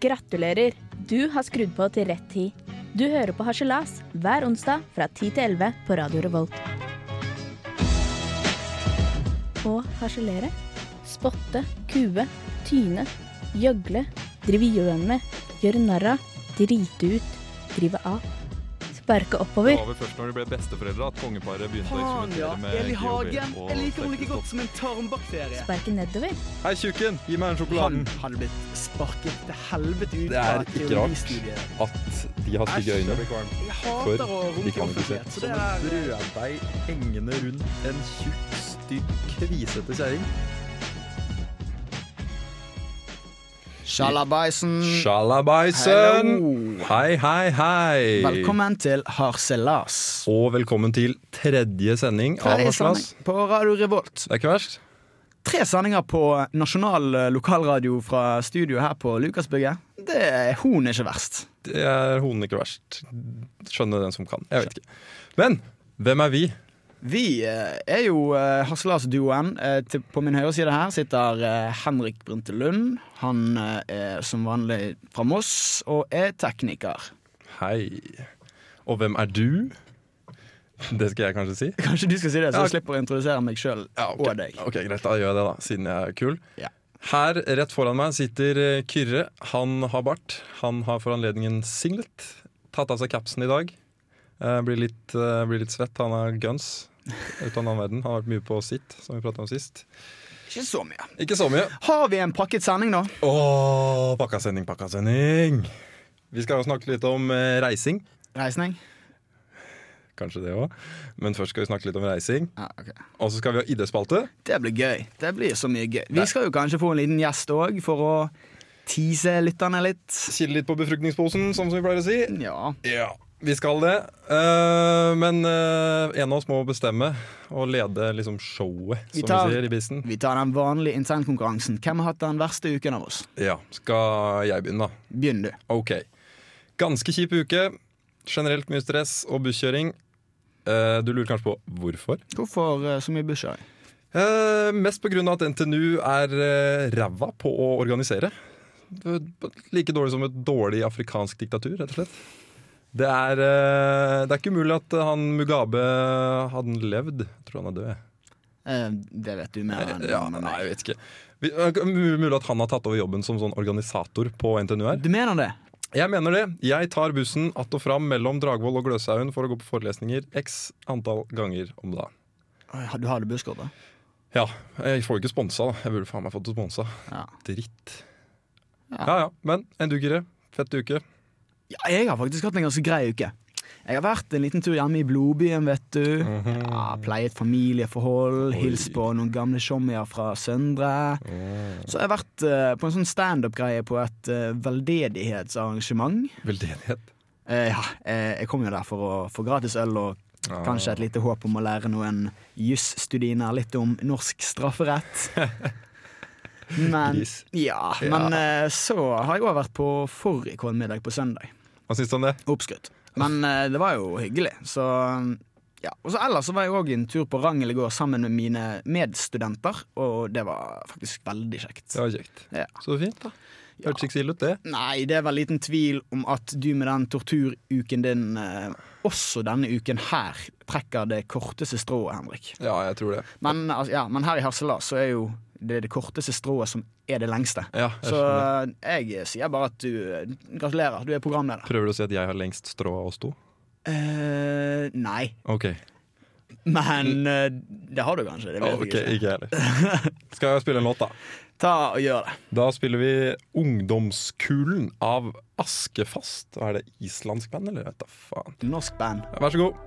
Gratulerer! Du har skrudd på til rett tid. Du hører på Harselas hver onsdag fra 10 til 11 på Radio Revolt. Å harselere, spotte, kue, tyne, gjøgle, drive gjøn med, gjøre narr av, drite ut, drive av. Sparke Det oppover. var vel først når de ble besteforeldre at kongeparet begynte å Faen, ja. eksperimentere med Eli Hagen. GHB og Jeg liker henne like sterkere godt som en tarmbakterie. Sparke nedover. stoff. Hei, tjukken! Gi meg den sjokoladen! Han hadde blitt sparket til helvete ut Det er fra ikke rart. teoristudiet. At de har stygge øyne. Jeg hater å For de kan runke ikke se. offentlighet, så det er brøddeig hengende rundt en tjukk, stygg, kvisete kjerring. Sjalabaisen. Shalabaisen! Mm. Hei, hei, hei! Velkommen til Harselas. Og velkommen til tredje sending av Tredje Harselas. sending På Radio Revolt. Det er ikke verst. Tre sendinger på nasjonal eh, lokalradio fra studio her på Lukasbygget. Det er hun ikke verst. Det er honen ikke verst. Skjønner den som kan. Jeg vet ikke. Men hvem er vi? Vi eh, er jo eh, Harselas-duoen. Eh, til- På min høyre side her sitter eh, Henrik Brinte Lund. Han eh, er som vanlig fra Moss og er tekniker. Hei. Og hvem er du? Det skal jeg kanskje si. Kanskje du skal si det, så Ja. jeg slipper å introdusere meg sjøl og deg. ok, Greit, da gjør jeg det, da, siden jeg er kul. Ja. Her rett foran meg sitter eh, Kyrre. Han har bart. Han har for anledningen singlet. Tatt av seg capsen i dag. Eh, blir, litt, eh, blir litt svett. Han har guns ut av den annen verden. Han har vært mye på sitt, som vi prata om sist. Ikke så mye. Ikke så mye. Har vi en pakket sending, da? Åh, pakkasending, pakkasending! Vi skal jo snakke litt om eh, reising. Reisning? Kanskje det òg. Men først skal vi snakke litt om reising. Ja, ok. Og så skal vi ha ID-spalte. Det blir gøy. Det blir så mye gøy. Vi skal jo kanskje få en liten gjest òg, for å tease lytterne litt. Kile litt på befruktningsposen, som vi pleier å si. Ja. Ja, vi skal det. Eh, men eh, en av oss må bestemme og lede liksom showet, Vi som tar- vi sier i bissen. Vi tar den vanlige internkonkurransen. Hvem har hatt den verste uken av oss? Ja, skal jeg begynne, da? Begynn, du. OK. Ganske kjip uke. Generelt mye stress og busskjøring. Eh, du lurer kanskje på hvorfor? Hvorfor eh, så mye bushøy? Eh, mest pga. at NTNU er eh, ræva på å organisere. Like dårlig som et dårlig afrikansk diktatur, rett og slett. Det er, eh, det er ikke umulig at han Mugabe hadde han levd. Jeg tror han er død. jeg. Eh, Det vet du mer enn Ja, enn nei, meg. jeg vet ikke. Vi- eh, det er mu- Mulig at han har tatt over jobben som sånn organisator på NTNU her. Du mener det? Jeg mener det. Jeg tar bussen att og fram mellom Dragvoll og Gløshaugen for å gå på forelesninger x antall ganger om dagen. Oi, Du hadde busskort, da? Ja, jeg får jo ikke sponsa, da. Jeg burde faen meg fått det sponsa. Ja. Dritt. Ja. Ja ja, men en dugere. Fett uke. ja. Jeg har faktisk hatt en ganske grei uke. Jeg har vært en liten tur hjemme i Blodbyen, vet du. Ja, pleiet familieforhold, hilst på noen gamle tjommier fra Søndre. Mm. Så har jeg vært eh, på en sånn standup-greie på et eh, veldedighetsarrangement. Veldedighet. Eh, ja, eh, jeg kom jo der for å få gratis øl og kanskje et lite håp om å lære noen jusstudiner litt om norsk strafferett. Men, Gris. ja, Ja. men eh, så har jeg òg vært på fårikålmiddag på søndag. Hva syns du om det? Oppskrytt. Men eh, det var jo hyggelig, så ja. Og så ellers så var jeg òg en tur på Rangel i går sammen med mine medstudenter, og det var faktisk veldig kjekt. Det var kjekt. Ja. Så fint, da. Hørtes ikke så ille ut, det. Nei, det er vel liten tvil om at du med den torturuken din eh, også denne uken her trekker det korteste strået, Henrik. Ja, jeg tror det. Men, altså, ja, men her i Harselas så er jo det det korteste strået som er det lengste. Ja, jeg Så eh, skjønner. jeg sier bare at du eh, Gratulerer, du er programleder. Prøver du å si at jeg har lengst strå av oss to? eh, nei, OK. men eh, det har du kanskje. Det Mm. vet Ah, Ok, jeg ikke. ikke jeg heller. Skal jeg spille en låt, da? Ta og gjør det. Da spiller vi Ungdomskulen av Askefast. Og Er det islandsk band, eller? Jeg Vet da faen. Norsk band. Ja, Vær så god.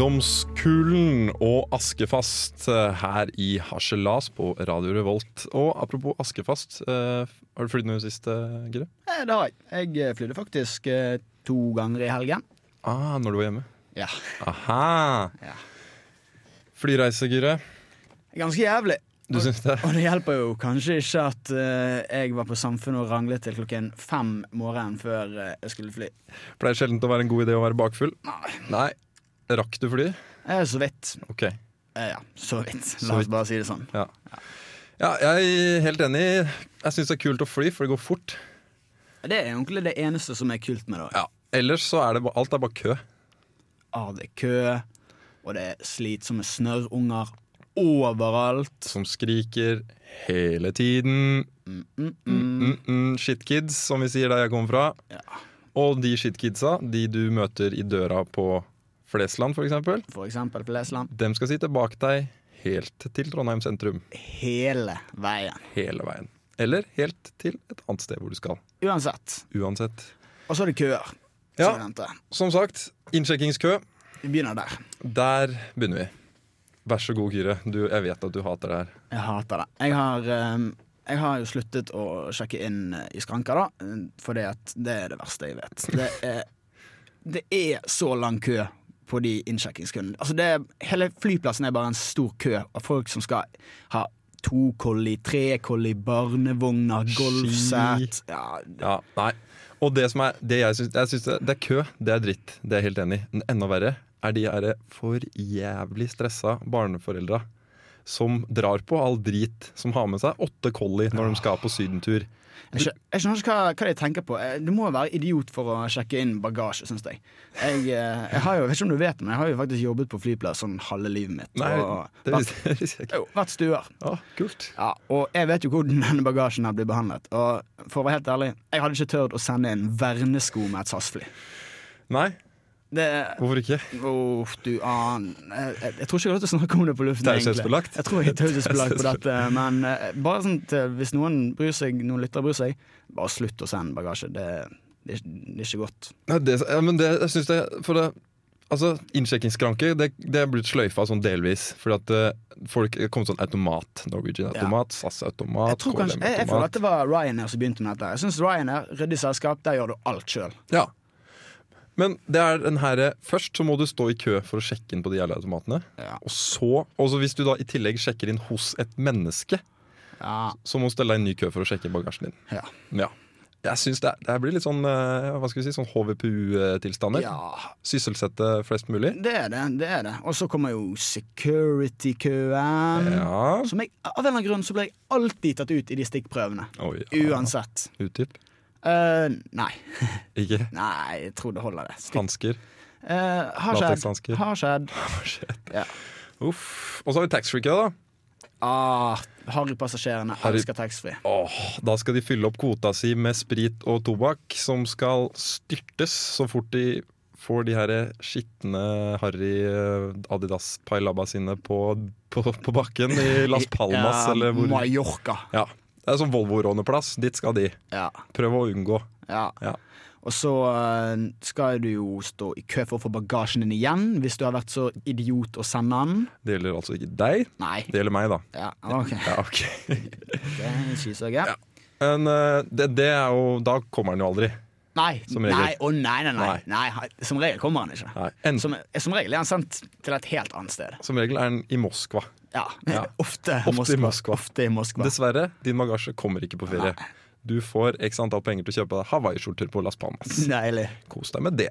Ungdomskulen og Askefast eh, her i Harselas på Radio Revolt. Og apropos Askefast, eh, har du flydd noe sist, eh, Gire? Eh, det har jeg. Jeg flydde faktisk eh, to ganger i helgen. Ah, når du var hjemme. Ja. Aha! Ja. Flyreise, Gyrre. Ganske jævlig. Du syns det? Og det hjelper jo kanskje ikke at eh, jeg var på Samfunnet og ranglet til klokken fem morgenen før eh, jeg skulle fly. Pleier sjelden å være en god idé å være bakfull. Nei. Nei. Rakk du fly? Eh, så vidt. Ok. Eh, ja, så vidt. Så La vidt. oss bare si det sånn. Ja. ja, jeg er helt enig. Jeg syns det er kult å fly, for det går fort. Det er egentlig det eneste som er kult med det. Ja, Ellers så er det bare, alt er bare kø. Ah, det er kø, og det er slitsomme snørrunger overalt. Som skriker hele tiden. Mm, mm. Mm-mm, shitkids, som vi sier der jeg kommer fra. Ja, Og de shitkidsa, de du møter i døra på Flesland f.eks., for eksempel på Lesland. dem skal sitte bak deg helt til Trondheim sentrum. Hele veien. Hele veien. Eller helt til et annet sted hvor du skal. Uansett. Uansett. Og så er det køer. som Ja. vi venter. Som sagt, innsjekkingskø. Vi begynner der. Der begynner vi. Vær så god, Kyrre. Du, jeg vet at du hater det her. Jeg hater det. Jeg har, ehm, jeg har jo sluttet å sjekke inn eh, i skranker, da. eh, Fordi at det er det verste jeg vet. Det er, det er så lang kø på de innsjekkingskundene. Altså det er, hele flyplassen er bare en stor kø av folk som skal ha to kolli, tre kolli, barnevogner, golfsett ja, Ja, nei. Og det som er det jeg syns, jeg syns det, det er kø, det er dritt. Det er jeg helt enig i. Men Enda verre er de her for jævlig stressa barneforeldra som drar på all drit som har med seg åtte collie når de skal på sydentur. Jeg skjø- jeg skjønner ikke hva, hva de tenker på. Eh, Du må jo være idiot for å sjekke inn bagasje, syns jeg. Jeg, eh, jeg har jo, jeg vet ikke om du vet det, men jeg har jo faktisk jobbet på flyplass sånn halve livet mitt. Nei, og det vært, visste det visste jeg ikke. jo, vært stuer. Ja, kult. Ja, og jeg vet jo hvordan denne bagasjen her blir behandlet. Og for å være helt ærlig, jeg hadde ikke tørt å sende en vernesko med et SAS-fly. Nei, Det hvorfor ikke? Uff, du an... Jeg, jeg, jeg tror ikke jeg har lov til å snakke om det på luften. egentlig. Taushetsbelagt. Jeg tror jeg er taushetsbelagt på dette. Men eh, bare sånn til, hvis noen bryr seg, noen lyttere bryr seg, bare slutt å sende bagasje. Det, det, er ikke- det er ikke godt. Nei, det, ja, men det, jeg synes det, for det Altså, Innsjekkingsskranke det, det er blitt sløyfa sånn delvis. Fordi at eh, folk det kom sånn automat. H&M Norwegian-automat, Jeg, SAS-automat, tror kanskje, jeg, jeg føler at det var Ryanair som begynte med dette. Jeg syns Ryanair, ryddig selskap, der gjør du alt sjøl. Ja. Men det er den her, eh, først så må du stå i kø for å sjekke inn på de jævla automatene. Ja. Og så, og så hvis du da i tillegg sjekker inn hos et menneske, Ja, så må du stelle deg i en ny kø for å sjekke inn bagasjen din. ja. Ja. Jeg synes det, er- det her blir litt sånn eh, hva skal vi si, sånn HVPU-tilstander. ja. Sysselsette flest mulig. Det er det. det er det Og så kommer jo security-køen. Ja. Som jeg, av en eller annen grunn så blir jeg alltid tatt ut i de stikkprøvene. Oi, ja. Uansett. Utdyp. Eh, nei. Ikke Nei, jeg tror det holder, det. Stikk. hansker. Eh, har Latekshansker. skjedd. Har skjedd. Ja. Uff. Og så har vi taxfree-kø, da. Ah, Harrypassasjerene Harry- elsker taxfree. Åh, da skal de fylle opp kvota si med sprit og tobakk, som skal styrtes så fort de får de her skitne Harry eh, Adidas Pailaba sine på, på, på bakken i Las Palmas Ja, eller hvor Mallorca. Ja. Det er sånn Volvo-råneplass. Dit skal de. Ja, Prøv å unngå. ja. Ja. Og så eh, skal du jo stå i kø for å få bagasjen din igjen, hvis du har vært så idiot å sende den. Det gjelder altså ikke deg. Nei. Det gjelder meg, da. Ja, OK. Ja, ok. Det er skisøket. Men eh, det, det er jo Da kommer den jo aldri. Nei, Som regel. nei, å nei, nei, nei, Nei. nei. ha- Som regel kommer han ikke. Nei. En, som, Som, som regel er han sendt til et helt annet sted. regel er den i Moskva. Ja, Ja. Ofte, Ofte i Moskva. Ofte i Moskva. Dessverre, din bagasje kommer ikke på ferie. Du får x antall penger til å kjøpe deg hawaiiskjorter på Las Palmas. Deilig. Kos deg med det.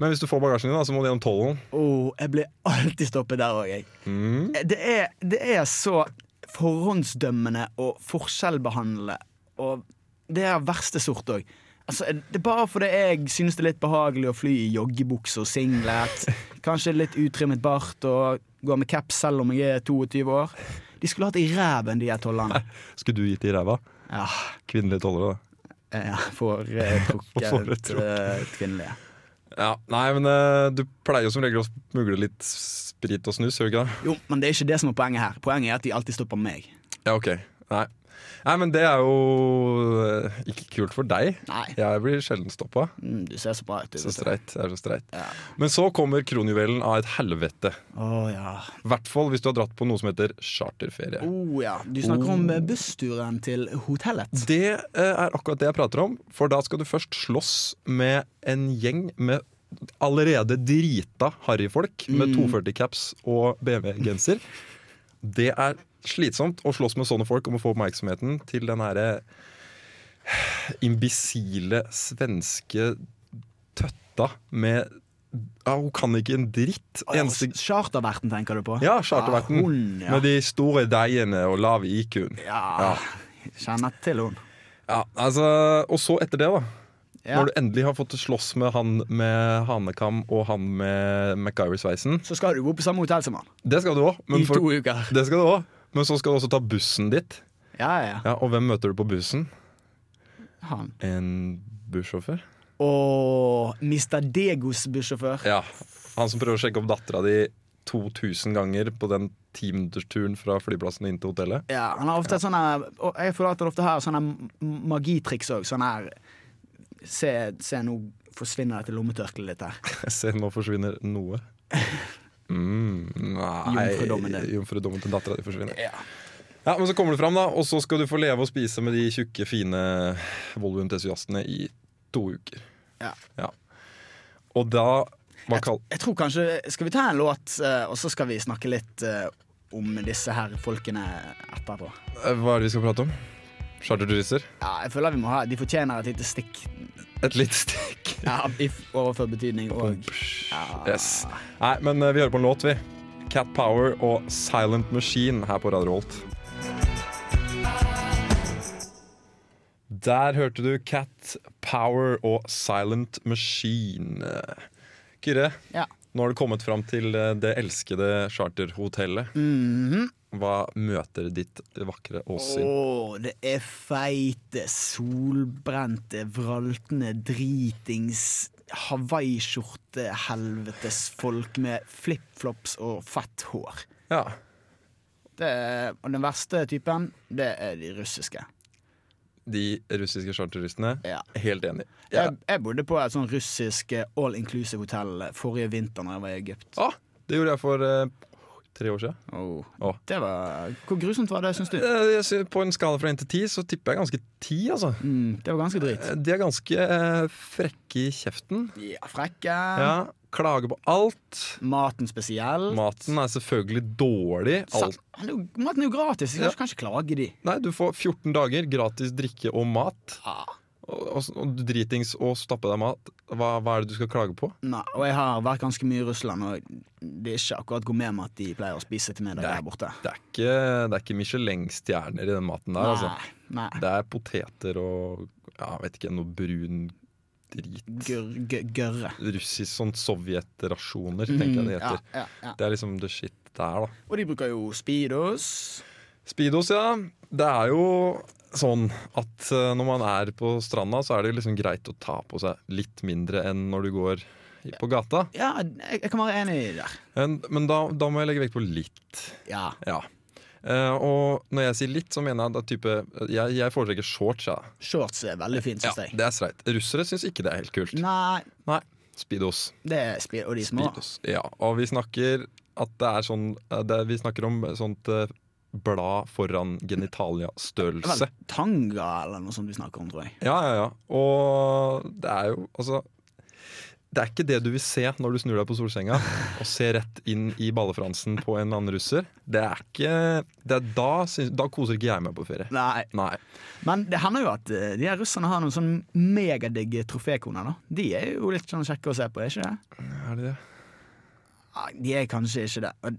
Men hvis du får bagasjen din, da, så må du gjennom tollen. Oh, jeg blir alltid stoppet der òg, jeg. Mm. Det er, det er så forhåndsdømmende og forskjellbehandle. Og det er av verste sort òg. Altså, det er bare fordi jeg synes det er litt behagelig å fly i joggebukse og singlet. Kanskje litt utrimmet bart og går med caps selv om jeg er 22 år. De skulle hatt i ræven, de her tollerne. Skulle du gitt i ræva? Ja, Kvinnelige tollere, da. jeg får eh, Får et trukket trukk. eh, kvinnelige. Ja, Nei, men eh, du pleier jo som regel å smugle litt sprit og snus, gjør du ikke det? Jo, men det er ikke det som er poenget her. Poenget er at de alltid stopper meg. Ja, ok. Nei. Nei, men det er jo eh, ikke kult for deg. Nei, Jeg blir sjelden stoppa. mm, du ser så bra ut. du, Så streit. vet du. Jeg er så streit. Ja. Men så kommer kronjuvelen av et helvete. Å ja. I hvert fall hvis du har dratt på noe som heter charterferie. Oh, ja. Du snakker om eh, bussturen til hotellet. Det eh, er akkurat det jeg prater om, for da skal du først slåss med en gjeng med allerede drita harryfolk Mm. med 240-caps og BMW-genser. Det er slitsomt å slåss med sånne folk om å få oppmerksomheten til den eh, herre imbisile svenske tøtta med ja, hun kan ikke en dritt. Å, ja, Eneste Charterverten tenker du på? Ja, charterverten. Ja, hun, ja. Med de store deigene og lav IQ-en. Ja, kjenner til hun. Ja, altså, og så etter det, da. Ja. Når du endelig har fått slåss med han med hanekam og han med MacGyver-sveisen. Så skal du bo på samme hotell som han Det skal du òg. i to uker. Det skal du også. Men så skal du også ta bussen ditt. Ja, ja, Ja, Og hvem møter du på bussen? han. En bussjåfør? Og Mr. Degos bussjåfør. Ja. Han som prøver å sjekke opp dattera di 2000 ganger på den timinuttersturen fra flyplassen inn til hotellet. Ja, han har ofte et sånne Og jeg føler at han ofte har sånne m- magitriks òg. Sånn her se, se, nå forsvinner dette lommetørkleet litt her. Se, nå forsvinner noe. Mm, nei Jomfrudommen din. Jomfrudommen til dattera di forsvinner. Ja. Ja, Men så kommer du fram, da, og så skal du få leve og spise med de tjukke, fine Volvo-entusiastene i to uker. Ja. Og da hva kall... Jeg tror kanskje Skal vi ta en låt, eh, og så skal vi snakke litt eh, om disse her folkene etterpå? Eh, Hva er det vi skal prate om? Charterturister? Ja, jeg føler vi må ha De fortjener et lite stikk Et lite stikk. ja, i f- overført betydning òg. Yes. Nei, men eh, vi hører på en låt, vi. Cat Power og Silent Machine her på Radio Holt. Der hørte du Cat Power og Silent Machine. Kyrre, Ja. nå har du kommet fram til eh, det elskede charterhotellet. mhm. Hva møter ditt vakre åsyn? Åh, det er feite, solbrente, vraltende, dritings hawaiiskjorte-helvetes folk med flipflops og fett hår. Ja. Det er, og den verste typen, det er de russiske. De russiske charterturistene. Ja. Helt enig. Ja. Jeg, jeg bodde på et sånn russisk eh, all inclusive hotell eh, forrige vinter da jeg var i Egypt. Ah, det gjorde jeg for eh, tre år siden. Åh, Oh. Åh. Det var, hvor grusomt var det, syns du? Eh, jeg sy- På en skala fra 1 til 10 så tipper jeg ganske 10, altså. Mm, det var ganske drit. Eh, De er ganske eh, frekke i kjeften. Ja, frekke. Ja, Klager på alt. Maten spesiell. Maten er selvfølgelig dårlig. Sa- Alt. Han er jo- Maten er jo gratis, jeg Ja. kan ikke klage de. Nei, du får 14 dager gratis drikke og mat. Ah. Og, og, og du dritings og stappe deg mat. Hva, hva er det du skal klage på? Nei, og jeg har vært ganske mye i Russland, og det er ikke akkurat gourmetmat de pleier å spise til middag Nei. der borte. Det er ikke, det er ikke Michelin-stjerner i den maten der, altså. nei. Det er poteter og ja, jeg vet ikke, noe brun drit. Gørr, gø- gørre. Russisk sånn sovjetrasjoner, tenker jeg det Mm, Ja, heter. ja, ja. Det er liksom the shit der, da. Og de bruker jo Speedos. Speedos, ja. Det er jo sånn at eh, når man er på stranda, så er det liksom greit å ta på seg litt mindre enn når du går i- på gata. Ja, jeg, jeg kan være enig i det der. En- Men da, da må jeg legge vekt på litt. Ja. Ja. Eh, og når jeg sier litt, så mener jeg da type Jeg, jeg foretrekker shorts, ja. Shorts er veldig fint, ja. syns jeg. Det er streit. Russere syns ikke det er helt kult. Nei, Nei. Speedos. det er speed, og de små. Speedos. Ja, og vi snakker at det er sånn eh, det, Vi snakker om sånt eh, blad foran Det er genitalia-størrelse. vel tanga eller noe sånt vi snakker om, tror jeg. Ja, ja, ja. Og det er jo altså Det er ikke det du vil se når du snur deg på solsenga og ser rett inn i ballefransen på en eller annen russer. Det er ikke det er da, syns- da koser ikke jeg meg på ferie. Nei, Nei. Men det hender jo at eh, de her russerne har noen sånn megadigge trofékoner. da De er jo litt sånn kjekke å se på, er ikke det? Er det det? Nei, De er kanskje ikke det. Og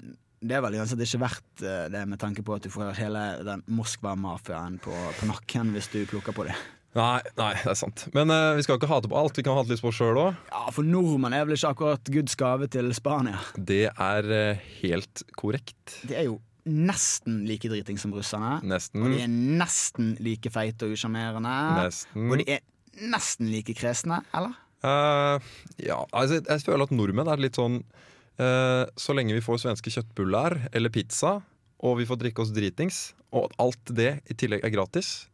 det er vel uansett ikke verdt eh, det, med tanke på at du får hele den Moskva-mafiaen på, på nakken hvis du plukker på det. Nei, nei, det er sant. Men eh, vi skal ikke hate på alt. Vi kan hate litt på oss sjøl òg. Ja, For nordmenn er vel ikke akkurat Guds gave til Spania. Det er eh, helt korrekt. De er jo nesten like driting som russerne. Nesten. De er nesten like feite og usjarmerende. Mm. Nesten. Og de er nesten like kresne, eller? Eh, ja, altså, jeg føler at nordmenn er litt sånn eh, Så lenge vi får svenske kjøttbuller eller pizza, og vi får drikke oss dritings, og alt det i tillegg er gratis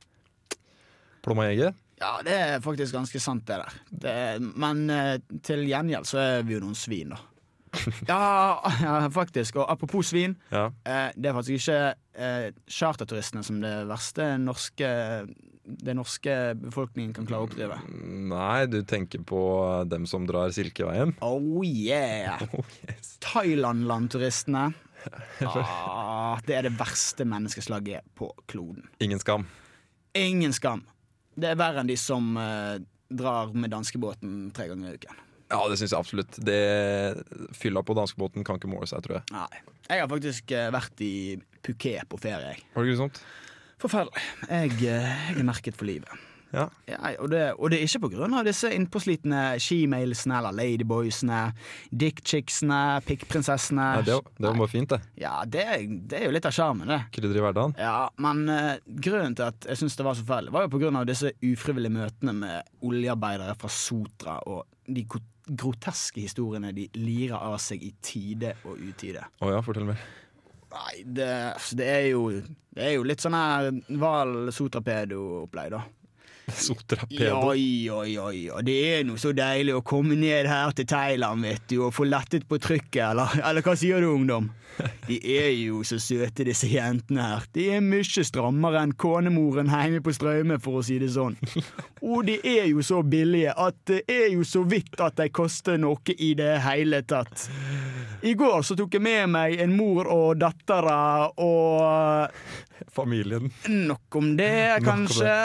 Plomma jeger. Ja, det er faktisk ganske sant, det der. Det er, men eh, til gjengjeld så er vi jo noen svin, da. Ja, ja faktisk. Og apropos svin. Ja. Eh, det er faktisk ikke eh, charterturistene som det verste norske det norske befolkningen kan klare å oppdrive. Nei, du tenker på dem som drar Silkeveien. Oh yeah! Oh, yes. Thailand-landturistene. Ah, det er det verste menneskeslaget på kloden. Ingen skam. Ingen skam. Det er verre enn de som eh, drar med danskebåten tre ganger i uken. Ja, det syns jeg absolutt. Det Fylla på danskebåten kan ikke måle seg, tror jeg. Nei. Jeg har faktisk eh, vært i Phuket på ferie. jeg. Var det grusomt? Forferdelig. Jeg, eh, jeg er merket for livet. Ja. Ja, og, det, og det er ikke på grunn av disse innpåslitne shemailsene eller ladyboysene, dickchicksene, pikkprinsessene. Nei, det, var- det var bare fint, det. Ja, det, det er jo litt av sjarmen, det. Krydder i hverdagen. Ja, men eh, grunnen til at jeg syns det var så fælt, var jo på grunn av disse ufrivillige møtene med oljearbeidere fra Sotra og de ko- groteske historiene de lirer av seg i tide og utide. Å ja, fortell mer. Nei, det, altså, det er jo Det er jo litt sånn her hval-sotrapedo-opplegg, da. Sotrapedo. Oi, oi, oi, og det er noe så deilig å komme ned her til Thailand, vet du, og få lettet på trykket, eller, eller hva sier du, ungdom? De er jo så søte, disse jentene her. De er mye strammere enn konemoren hjemme på Straume, for å si det sånn. Og de er jo så billige at det er jo så vidt at de koster noe i det hele tatt. I går så tok jeg med meg en mor og dattera og Familien. Nok om det, Nok om kanskje.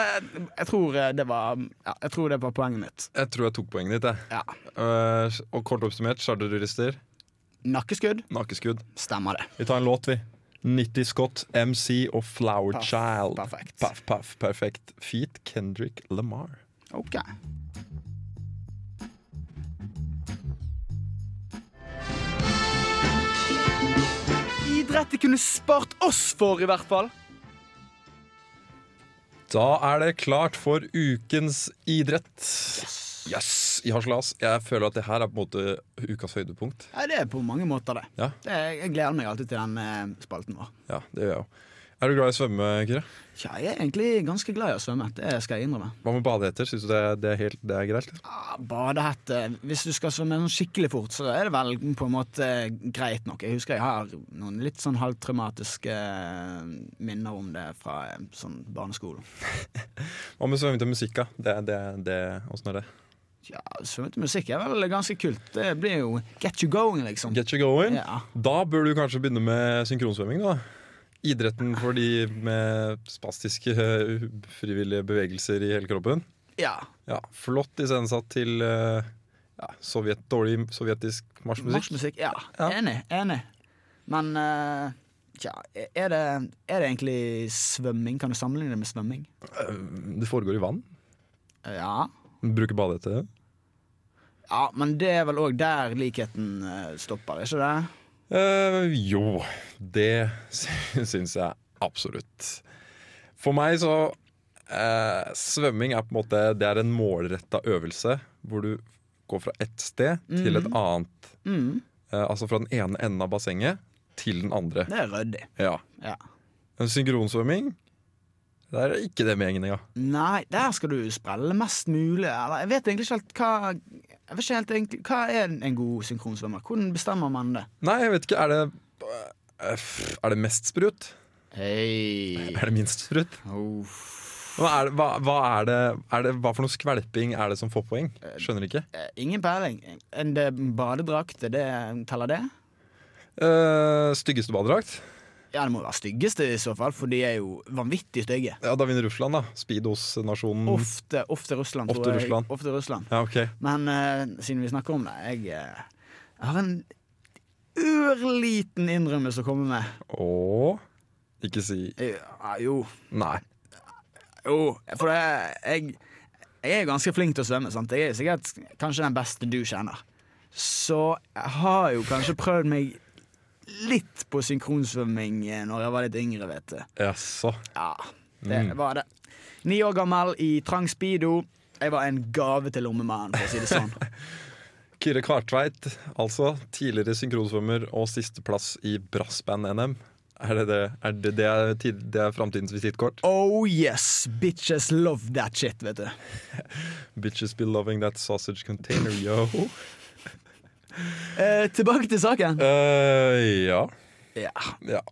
Jeg tror eh, det var, ja, jeg tror det var poenget mitt. Jeg tror jeg tok poenget ditt, jeg. Ja. Eh, og kort oppsummert, charterturister, Nakkeskudd. nakeskudd. Stemmer det. Vi tar en låt, vi. 90 Scott, MC og Flower Paff, Child. perfekt. Paff, paff, perfekt. Feat Kendrick Lamar. Ok. Idrett de kunne spart oss for, i hvert fall. Da er det klart for ukens idrett. Yes! I harselas. Jeg føler at det her er på en måte ukas høydepunkt. Ja, det er på mange måter, det. Ja. det jeg gleder meg alltid til den eh, spalten vår. Ja, det gjør jeg òg. Er du glad i å svømme, Kyrre? Tja, jeg er egentlig ganske glad i å svømme. Det skal jeg innrømme. Hva med badehetter? Syns du det er, det er, helt, det er greit? Liksom? Ah, Badehette Hvis du skal svømme sånn skikkelig fort, så er det vel på en måte greit nok. Jeg husker jeg har noen litt sånn halvtraumatiske minner om det fra eh, sånn barneskolen. Hva med svømming til musikk, da? Det, det, det, åssen er det? Ja, Svømme til musikk er vel ganske kult. Det blir jo get you going, liksom. Get you going. Ja. Da bør du kanskje begynne med synkronsvømming, da. Idretten for de med spastiske, eh, frivillige bevegelser i hele kroppen. ja. Ja, Flott iscenesatt til eh, ja, sovjet, dårlig sovjetisk marsjmusikk. Marsjmusikk. Ja. Ja. Enig. Enig. Men eh, tja, er det, er det egentlig svømming? Kan du sammenligne det med svømming? Eh, Det foregår i vann. Ja. Bruke badehette. ja men det er vel òg der likheten eh, stopper, ikke det? Eh, jo, det sy- syns jeg absolutt. For meg så eh, Svømming er på en måte Det er en målretta øvelse hvor du går fra ett sted til et annet. Mm. Eh, altså fra den ene enden av bassenget til den andre. Det er ryddig. Ja. Ja. En Synkronsvømming det er ikke det med gjengen engang. Nei, der skal du sprelle mest mulig. Eller, jeg vet egentlig ikke helt hva jeg vet ikke helt egentlig, Hva er en- en god synkronsvømmer? Hvordan bestemmer man det? Nei, jeg vet ikke. Er det, eh, er det mest sprut? Hei Er det minst sprut? Hva, er det, hva, hva, er det, er det, hva for noe skvelping er det som får poeng? Skjønner ikke. Eh, Ingen peiling. En det- badedrakt, det- det teller det? Eh, styggeste badedrakt? Ja, det må være styggeste i så fall, for de er jo vanvittig stygge. Ja, Da vinner Russland, da. Speedos-nasjonen. Ofte, ofte Russland, tror Mm. Ofte jeg. Russland. Ofte Russland. Ja, ok. Men eh, siden vi snakker om det, jeg, eh, jeg har en ørliten innrømmelse å komme med. Og Ikke si Ja, jo. Nei. Jo, for det, jeg, jeg er ganske flink til å svømme. Sant? Jeg er sikkert kanskje den beste du kjenner. Så jeg har jo kanskje prøvd meg litt på synkronsvømming eh, når jeg var litt yngre, vet du. Jaså. Ja, det var det. Ni år gammel i trang speedo. Jeg var en gave til lommemannen, for å si det sånn. Kyrre Kartveit, altså. Tidligere synkronsvømmer og sisteplass i brassband-NM. Er det det? Er det, det, er tid, det er framtidens visittkort? Oh yes, bitches love that shit, vet du. Bitches be loving that sausage container, yo. Eh, tilbake til saken. Eh, ja. Ja. ja.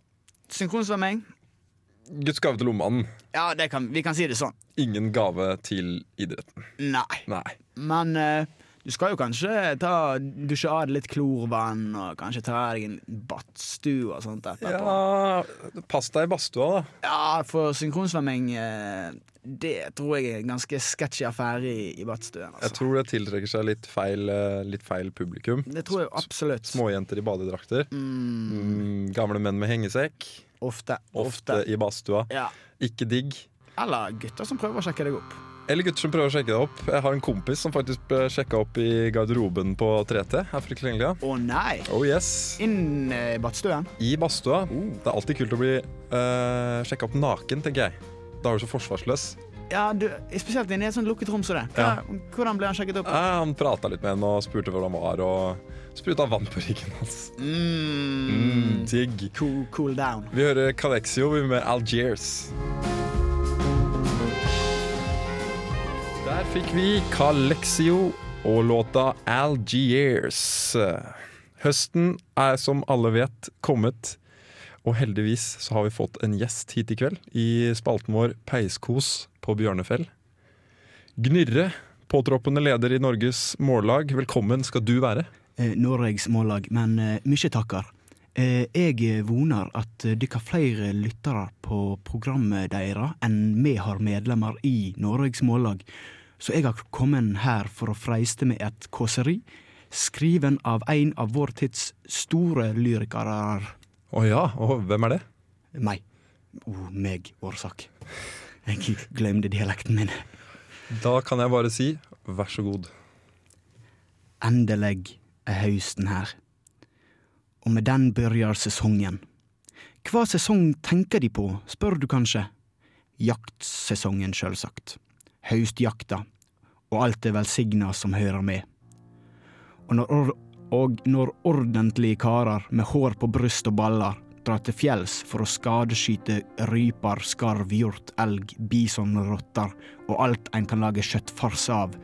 Synkronsvømming. Guds gave til lommemannen. Ja, det kan, vi kan si det sånn. Ingen gave til idretten. Nei. Nei. Men eh, Du skal jo kanskje ta, dusje av deg litt klorvann, og kanskje ta deg en liten badstue og sånt etterpå. Ja, Pass deg i badstua, da. Ja, for synkronsvømming eh, Det tror jeg er en ganske sketchy affære i, i badstuen. Jeg Altså. tror det tiltrekker seg litt feil, eh, litt feil publikum. Det tror jeg absolutt. Småjenter i badedrakter. Mm, Mm, gamle menn med hengesekk. ofte. Ofte Ofte. i badstua. Ja. Ikke digg. Eller gutter som prøver å sjekke deg opp. Eller gutter som prøver å sjekke deg opp. Jeg har en kompis som faktisk ble sjekka opp i garderoben på 3T. her for ikke lenge siden. Å nei! Oh yes. Inn eh, i badstuen. I badstua. Det er alltid kult å bli uh, sjekka opp naken, tenker jeg. Da er du så forsvarsløs. Ja, du, Spesielt inne i et sånt lukket rom som det. Hva, Ja. Hvordan ble han sjekket opp? Eh, han prata litt med henne og spurte hvor han var, og spruta vann på ryggen hans. Mm, Mm. digg. Cool, cool down. Vi hører Calexio vi med Algiers. Der fikk vi Calexio og låta Algiers. Høsten er som alle vet kommet, og heldigvis så har vi fått en gjest hit i kveld i spalten vår Peiskos på Bjørnefjell. Gnyrre, påtroppende leder i Norges mållag, velkommen skal du være. eh, Norges mållag, men eh, mykje takkar. Eh, jeg vonar at eh, dykk har flere lyttere på programmet deres enn vi har medlemmer i Norges mållag, så jeg har kommet her for å freiste med et kåseri, skriven av en av vår tids store lyrikere. Å ja, og hvem er det? Meg. Oh, meg, årsak. Jeg glemte dialekten min. Da kan jeg bare si vær så god. Endelig er høsten her. Og med den begynner sesongen. Hva sesong tenker de på, spør du kanskje? Jaktsesongen, sjølsagt. Høstjakta. Og alt det velsigna som hører med. Og når, or og når ordentlige karer med hår på bryst og baller drar til fjells for å skadeskyte ryper, skarv, hjort, elg, bison, rotter og alt en kan lage kjøttfars av,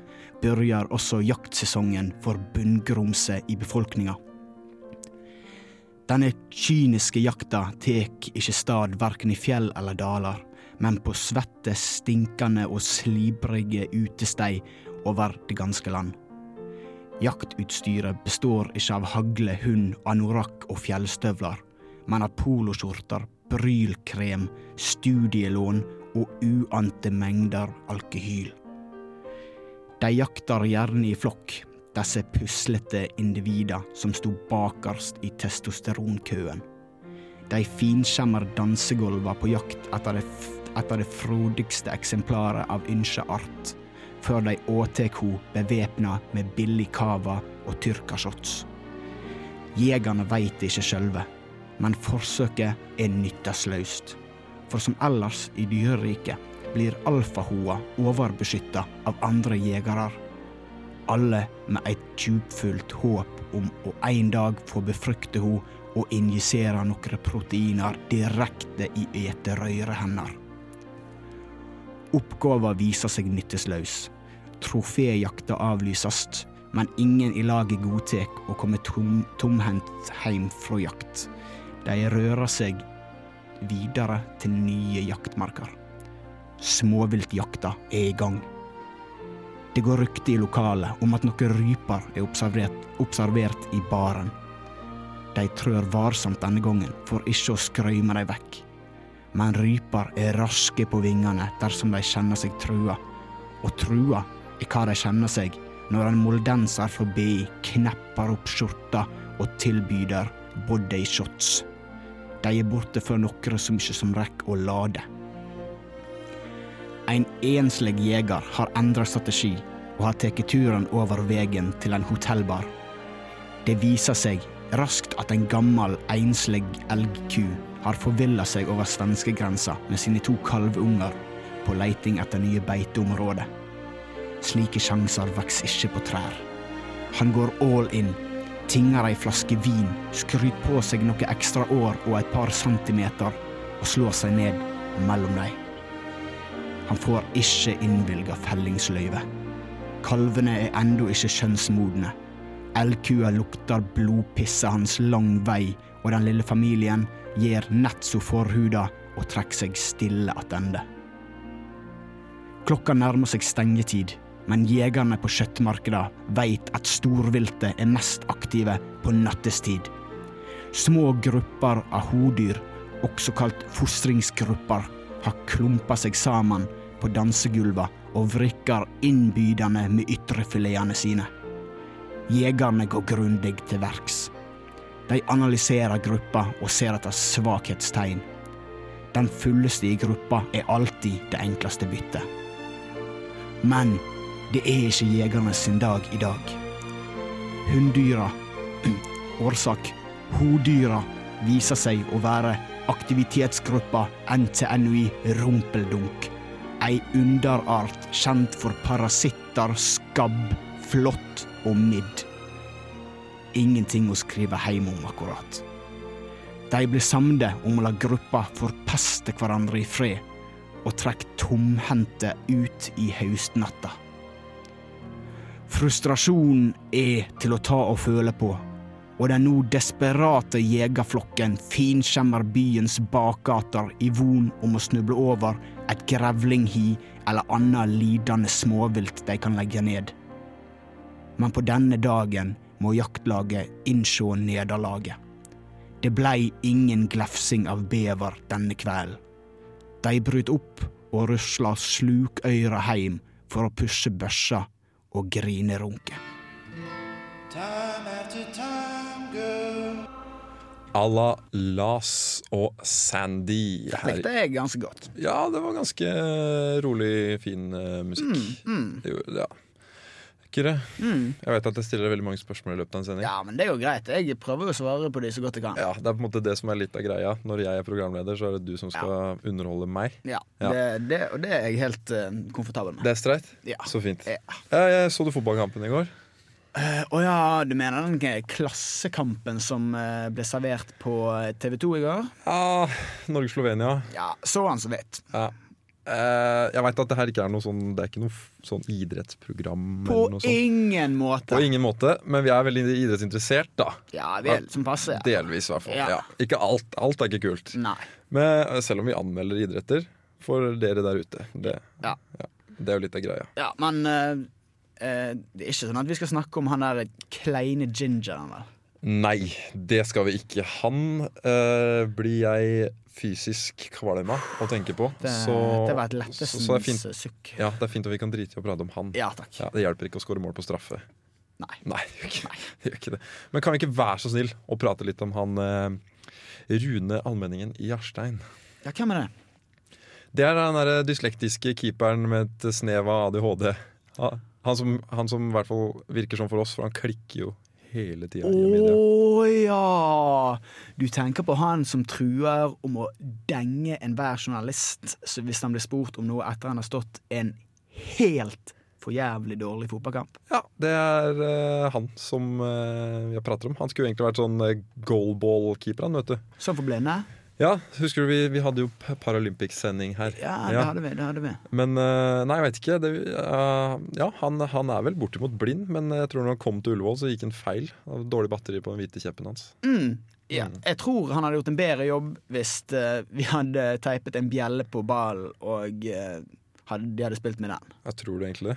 begynner også jaktsesongen for bunngrumse i befolkninga. Denne kyniske jakta tek ikke stad verken i fjell eller daler, men på svette, stinkende og slibrige utestei over det ganske land. Jaktutstyret består ikke av hagle, hund, anorakk og fjellstøvler, men av poloskjorter, brylkrem, studielån og uante mengder alkohyl. De jakter gjerne i flokk, disse puslete individa som sto bakerst i testosteronkøen. De finskjemmer dansegulva på jakt etter det, f- etter det frodigste eksemplaret av ynskja art, før de åtek ho bevæpna med billig cava og tyrkershots. Jegerne veit det ikke sjølve, men forsøket er nytteløst. For som ellers i dyreriket blir alfahoa overbeskytta av andre jegere. Alle med et djupfullt håp om å en dag få befrukte ho og injisere noen proteiner direkte i eterøyre hender. Oppgåva viser seg nyttesløs. Troféjakta avlysast, men ingen i laget godtek å komme tom, tomhendt heim fra jakt. De rører seg videre til nye jaktmarker. Småviltjakta er i gang. Det går rykte i lokalet om at noen ryper er observert, observert i baren. De trør varsomt denne gangen for ikke å skrøyme dem vekk. Men ryper er raske på vingene dersom de kjenner seg trua. Og trua er hva de kjenner seg når en moldenser forbi knepper opp skjorta og tilbyder body shots. De er borte før noen som ikke som rekker å lade. En enslig jeger har endra strategi og har tatt turen over veien til en hotellbar. Det viser seg raskt at en gammel, enslig elgku har forvilla seg over svenskegrensa med sine to kalvunger på leiting etter nye beiteområder. Slike sjanser vokser ikke på trær. Han går all in, tinger ei flaske vin, skryter på seg noe ekstra år og et par centimeter, og slår seg ned mellom dem. Han får ikke innvilga fellingsløyve. Kalvene er ennå ikke kjønnsmodne. Elgkua lukter blodpisset hans lang vei, og den lille familien gir nett så forhuda og trekker seg stille attende. Klokka nærmer seg stengetid, men jegerne på kjøttmarkeda veit at storviltet er mest aktive på nattestid. Små grupper av hodyr, også kalt fostringsgrupper, har klumpa seg sammen på dansegulva og vrikker innbydende med ytrefiletene sine. Jegerne går grundig til verks. De analyserer gruppa og ser etter svakhetstegn. Den fulleste i gruppa er alltid det enkleste byttet. Men det er ikke jegerne sin dag i dag. Hunndyra Årsak Hodyra viser seg å være aktivitetsgruppa NTNUI Rumpeldunk. Ei underart kjent for parasitter, skabb, flått og midd. Ingenting å skrive hjem om, akkurat. De ble samde om å la gruppa forpeste hverandre i fred, og trekk tomhendte ut i høstnatta. Frustrasjonen er til å ta og føle på, og den nå desperate jegerflokken finskjemmer byens bakgater i von om å snuble over et grevlinghi eller annet lidende småvilt de kan legge ned. Men på denne dagen må jaktlaget innsjå nederlaget. Det blei ingen glefsing av bever denne kvelden. De bryt opp og rusla slukøyra heim for å pusse børsa og grinerunke. Time after time, girl. à la Las og Sandy. Her. Likte jeg ganske godt. Ja, det var ganske rolig, fin eh, musikk. Mm, Hmm. Det gjorde ja. Ikke det? Jeg vet at jeg stiller veldig mange spørsmål i løpet av en sending. Ja, men det er jo greit. Jeg prøver å svare på de så godt jeg kan. Ja, Det er på en måte det som er litt av greia. Når jeg er programleder, så er det du som skal underholde meg. Ja, Ja. Det, det, og det er jeg helt eh, komfortabel med. Det er streit? Ja. Så fint. Ja. Ja, jeg så du fotballkampen i går? Eh, Å ja, du mener den eh, klassekampen som eh, ble servert på eh, TV2 i går? Ja, Norge-Slovenia. Ja, så han som vet. Ja. Eh, jeg veit at det her ikke er noe sånn Det er ikke noe f- sånn idrettsprogram. På eller noe sånt. ingen måte. På ingen måte, men vi er veldig idrettsinteressert, da. Ja vel, som passer. Ja. Delvis, i hvert fall. Ja. Mm. Ja. Ikke alt. Alt er ikke kult. Nei. Men eh, selv om vi anmelder idretter for dere der ute. Det, Ja. ja, det er jo litt av greia. Ja, men eh, eh, det er ikke sånn at vi skal snakke om han der kleine gingeren, vel? Nei, det skal vi ikke. Han eh, blir jeg fysisk kvalm av å tenke på. Det, så, det var et så, så er det lettelsens fint. sukk. Ja, det er fint at vi kan drite i å prate om han. Ja takk. Ja, det hjelper ikke å skåre mål på straffe. Nei. Nei, det gjør ikke, det gjør ikke det. Men kan vi ikke være så snill å prate litt om han eh, Rune Almenningen i Jarstein? Ja, hvem er det? Det er den der dyslektiske keeperen med et snev av ADHD. Ha- Han som, han som i hvert fall virker sånn for oss, for han klikker jo hele tida. Å ja! Du tenker på han som truer om å denge enhver journalist så hvis han blir spurt om noe etter han har stått en helt for jævlig dårlig fotballkamp. Ja, det er eh, han som eh, jeg prater om. Han skulle egentlig vært sånn eh, goalball-keeper, han, vet du. Sånn for blinde? Ja, husker du vi, vi hadde jo p- Paralympics-sending her. Ja, det hadde vi. det hadde vi Men eh, nei, jeg vet ikke. Det, eh, ja, han, han er vel bortimot blind, men jeg tror når han kom til Ullevål, så gikk han feil. Det var Dårlig batteri på den hvite kjeppen hans. Ja. Jeg tror han hadde gjort en bedre jobb hvis eh, vi hadde teipet en bjelle på ballen og eh, hadde, de hadde spilt med den. Jeg tror du egentlig det?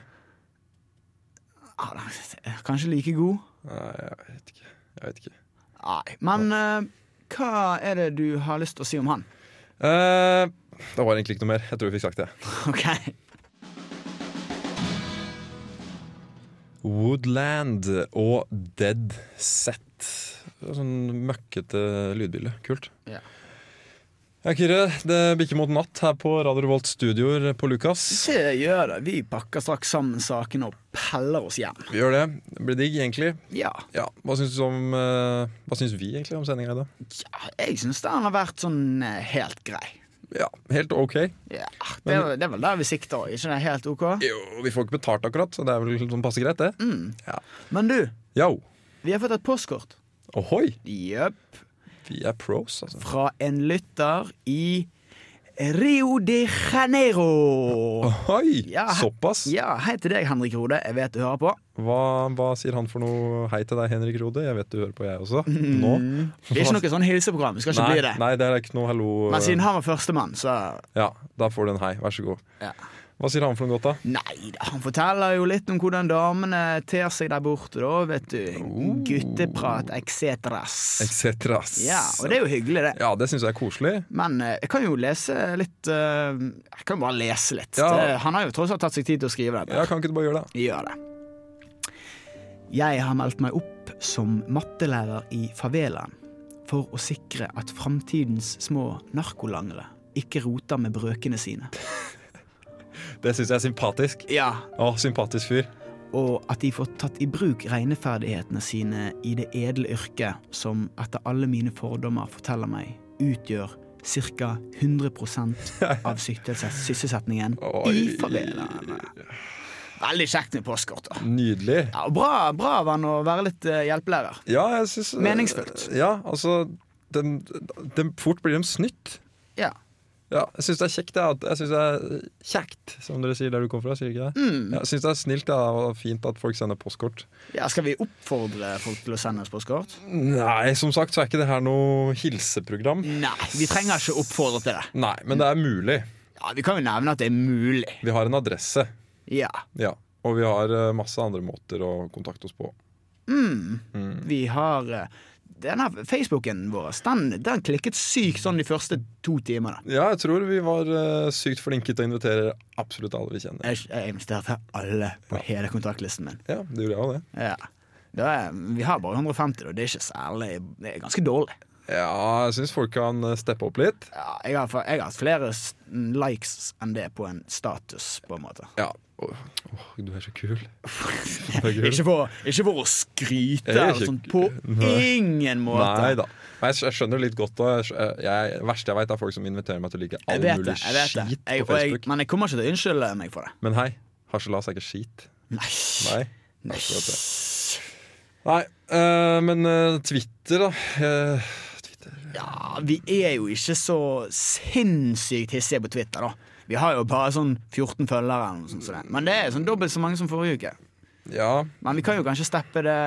Ah, den er Kanskje like god? Nei, jeg vet ikke. Jeg vet ikke. Nei. Men eh, hva er det du har lyst til å si om han? Eh, det var egentlig ikke noe mer. Jeg tror vi fikk sagt det. OK. Woodland og Dead Set. Det var Sånn møkkete lydbilde. Kult. Ja. Ja, Kyrre, det bikker mot natt her på Radio Revolt Studioer på Lukas. Se, gjør det. Vi pakker straks sammen sakene og peller oss hjem. Vi gjør det. Det blir digg, egentlig. Ja. Ja, Hva syns du om eh, Hva syns vi egentlig om sendinga i dag? ja jeg syns den har vært sånn eh, helt grei. Ja, helt ok. Ja, det, er- det er vel der vi sikter, ikke det helt OK? Jo, vi får ikke betalt akkurat, så det er vel sånn passe greit, det. Ja. Men du, Yo. vi har fått et postkort. Ohoi! Jepp. Vi er pros, altså. fra en lytter i Rio de Janeiro. Ohoi! Ja, he- Såpass? Ja, hei til deg, Henrik Rode. Jeg vet du hører på. Hva, hva sier han for noe hei til deg, Henrik Rode? Jeg vet du hører på, jeg også. Nå. Det er ikke noe sånn hilseprogram. Det skal ikke nei, bli det. nei, det er ikke noe hallo. Men siden han var førstemann, så Ja, da får du en hei. Vær så god. ja. Hva sier han for noe godt, da? Nei da, han forteller jo litt om hvordan damene ter seg der borte, da, vet du. Oh. Gutteprat etc. Etcetras. Ja, og det er jo hyggelig, det. Ja, det syns jeg er koselig. Men eh, jeg kan jo lese litt eh, Jeg kan jo bare lese litt. Ja. Det, han har jo tross alt tatt seg tid til å skrive dette. Ja, kan ikke du bare gjøre det? Gjør det. Jeg har meldt meg opp som mattelærer i favelaen for å sikre at framtidens små narkolangere ikke roter med brøkene sine. Det syns jeg er sympatisk. Ja, Å, sympatisk fyr. og at de får tatt i bruk regneferdighetene sine i det edle yrket som etter alle mine fordommer forteller meg utgjør ca. 100 av sysselses- sysselsetningen i Oi. favelaene. Veldig kjekt med postkort. da. Nydelig. Ja, og bra, bra av han å være litt eh, hjelpelærer. Ja, jeg synes, Meningsfullt. Ja, altså den, den, Fort blir de snytt. Ja. Ja, jeg syns det er kjekt, ja. at- Jeg synes det er kjekt, som dere sier der du kommer fra. sier dere ikke det? Ja, jeg syns det er snilt ja, og fint at folk sender postkort. Ja, skal vi oppfordre folk til å sende oss postkort? Nei, som sagt så er ikke det her noe hilseprogram. Nei, vi trenger ikke oppfordre til det. Nei, men det er mulig. Ja, Vi kan jo nevne at det er mulig. Vi har en adresse, Ja. ja. Og vi har eh, masse andre måter å kontakte oss på. Vi har eh, denne Facebooken vår den, den klikket sykt sånn de første to timene. Ja, jeg tror vi var eh, sykt flinke til å invitere absolutt alle vi kjenner. Jeg, jeg inviterte alle på hele kontaktlisten min. Ja, det gjorde jeg òg, det. Ja. Det er, vi har bare 150, og det er ikke særlig Det er ganske dårlig. Ja, jeg syns folk kan eh, steppe opp litt. Ja, jeg, har, fa- jeg har hatt flere s- likes enn det på en status, på en måte. Ja. Åh, åh, du er så kul. Ikke for, ikke for å skryte Jeg er eller ikke- sånt, på Nei. ingen måte. Nei da. Men jeg, skj- jeg skjønner litt godt da. Jeg skj- jeg- Det verste jeg veit, er folk som inviterer meg til å like all Jeg vet det. mulig jeg vet det skit jeg, på og jeg, Facebook. Men jeg kommer ikke til å unnskylde meg for det. Men hei, harselas er ikke skit. Nei. Nei. Nei. Nei, eh, men eh, Twitter, da. Eh, Twitter. Ja, vi er jo ikke så sinnssykt hissige på Twitter, da. Vi har jo bare sånn 14 følgere. Eller noe sånt, som det. Men det er sånn dobbelt så mange som forrige uke. Ja. Men vi kan jo kanskje steppe det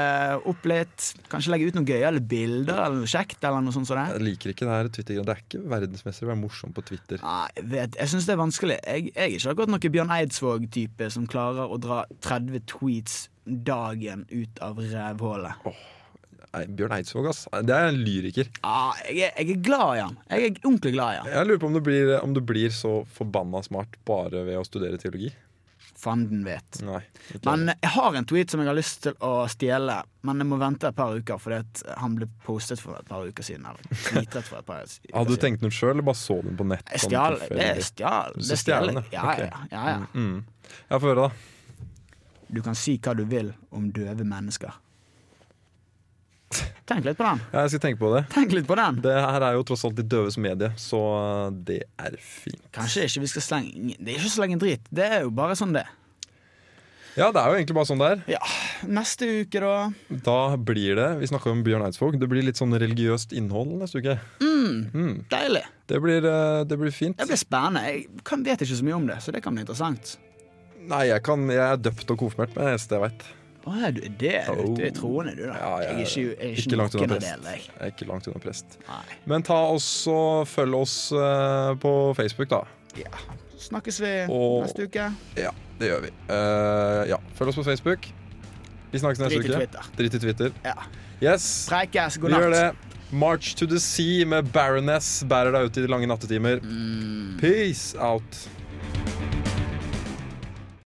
opp litt. Kanskje legge ut noen gøyale bilder eller noe kjekt. eller noe sånt som det. Jeg liker ikke det her Twitter. Det er ikke verdensmester å være morsom på Twitter. Nei, jeg vet, jeg syns det er vanskelig. Jeg, jeg er ikke akkurat noen Bjørn Eidsvåg-type som klarer å dra 30 tweets dagen ut av rævhullet. Nei, Bjørn Eidsvåg, ass. Det er en lyriker. Ja, jeg, er- jeg er glad i han. Jeg er ordentlig glad i han. Jeg lurer på om du blir, om du blir så forbanna smart bare ved å studere teologi. Fanden vet. Nei. ikke jeg. Men jeg har en tweet som jeg har lyst til å stjele, men jeg må vente et par uker, fordi at han ble postet for et par uker siden. Eller tweetet for et par uker siden. Hadde du tenkt den ut sjøl, eller bare så den på nett? Jeg sånn stjal. Det er tilfeldig? stjal. Du Det er skal stjele stjele. den, Ja, ja. ja, ja, ja. Mm. Ja, få høre, da. Du kan si hva du vil om døve mennesker. Tenk litt på den. Ja, jeg skal tenke på det. Tenk litt på den. Det her er jo tross alt de døves medie, så det er fint. Kanskje ikke vi skal slenge Det er ikke så lenge drit. Det er jo bare sånn det. Ja, det er jo egentlig bare sånn det er. Ja, neste uke, da. Da blir det Vi snakka om Bjørn Eidsvåg. Det blir litt sånn religiøst innhold neste uke. Mm. Mm. Deilig. Det blir, eh, det blir fint. Det blir spennende. Jeg kan, vet ikke så mye om det, så det kan bli interessant. Nei, jeg, kan, jeg er døpt og konfirmert, men det er det eneste jeg veit. Å ja, du er det? Du, du er troende, du, Oh. da. Ja, jeg er- jeg er ikke, jeg er ikke, ikke langt unna noen av prest. delene, jeg. Jeg er ikke langt unna prest. Nei. Men ta også følg oss eh, på Facebook, da. Ja. Snakkes vi Og- neste uke. Ja, det gjør vi. Eh, ja, følg oss på Facebook. Vi snakkes neste Drit i uke. Twitter. Drit i Twitter. Ja. Yes. Preikes, Vi god gjør natt. det. March to the Sea med Baroness bærer deg ut i de lange nattetimer. Peace out.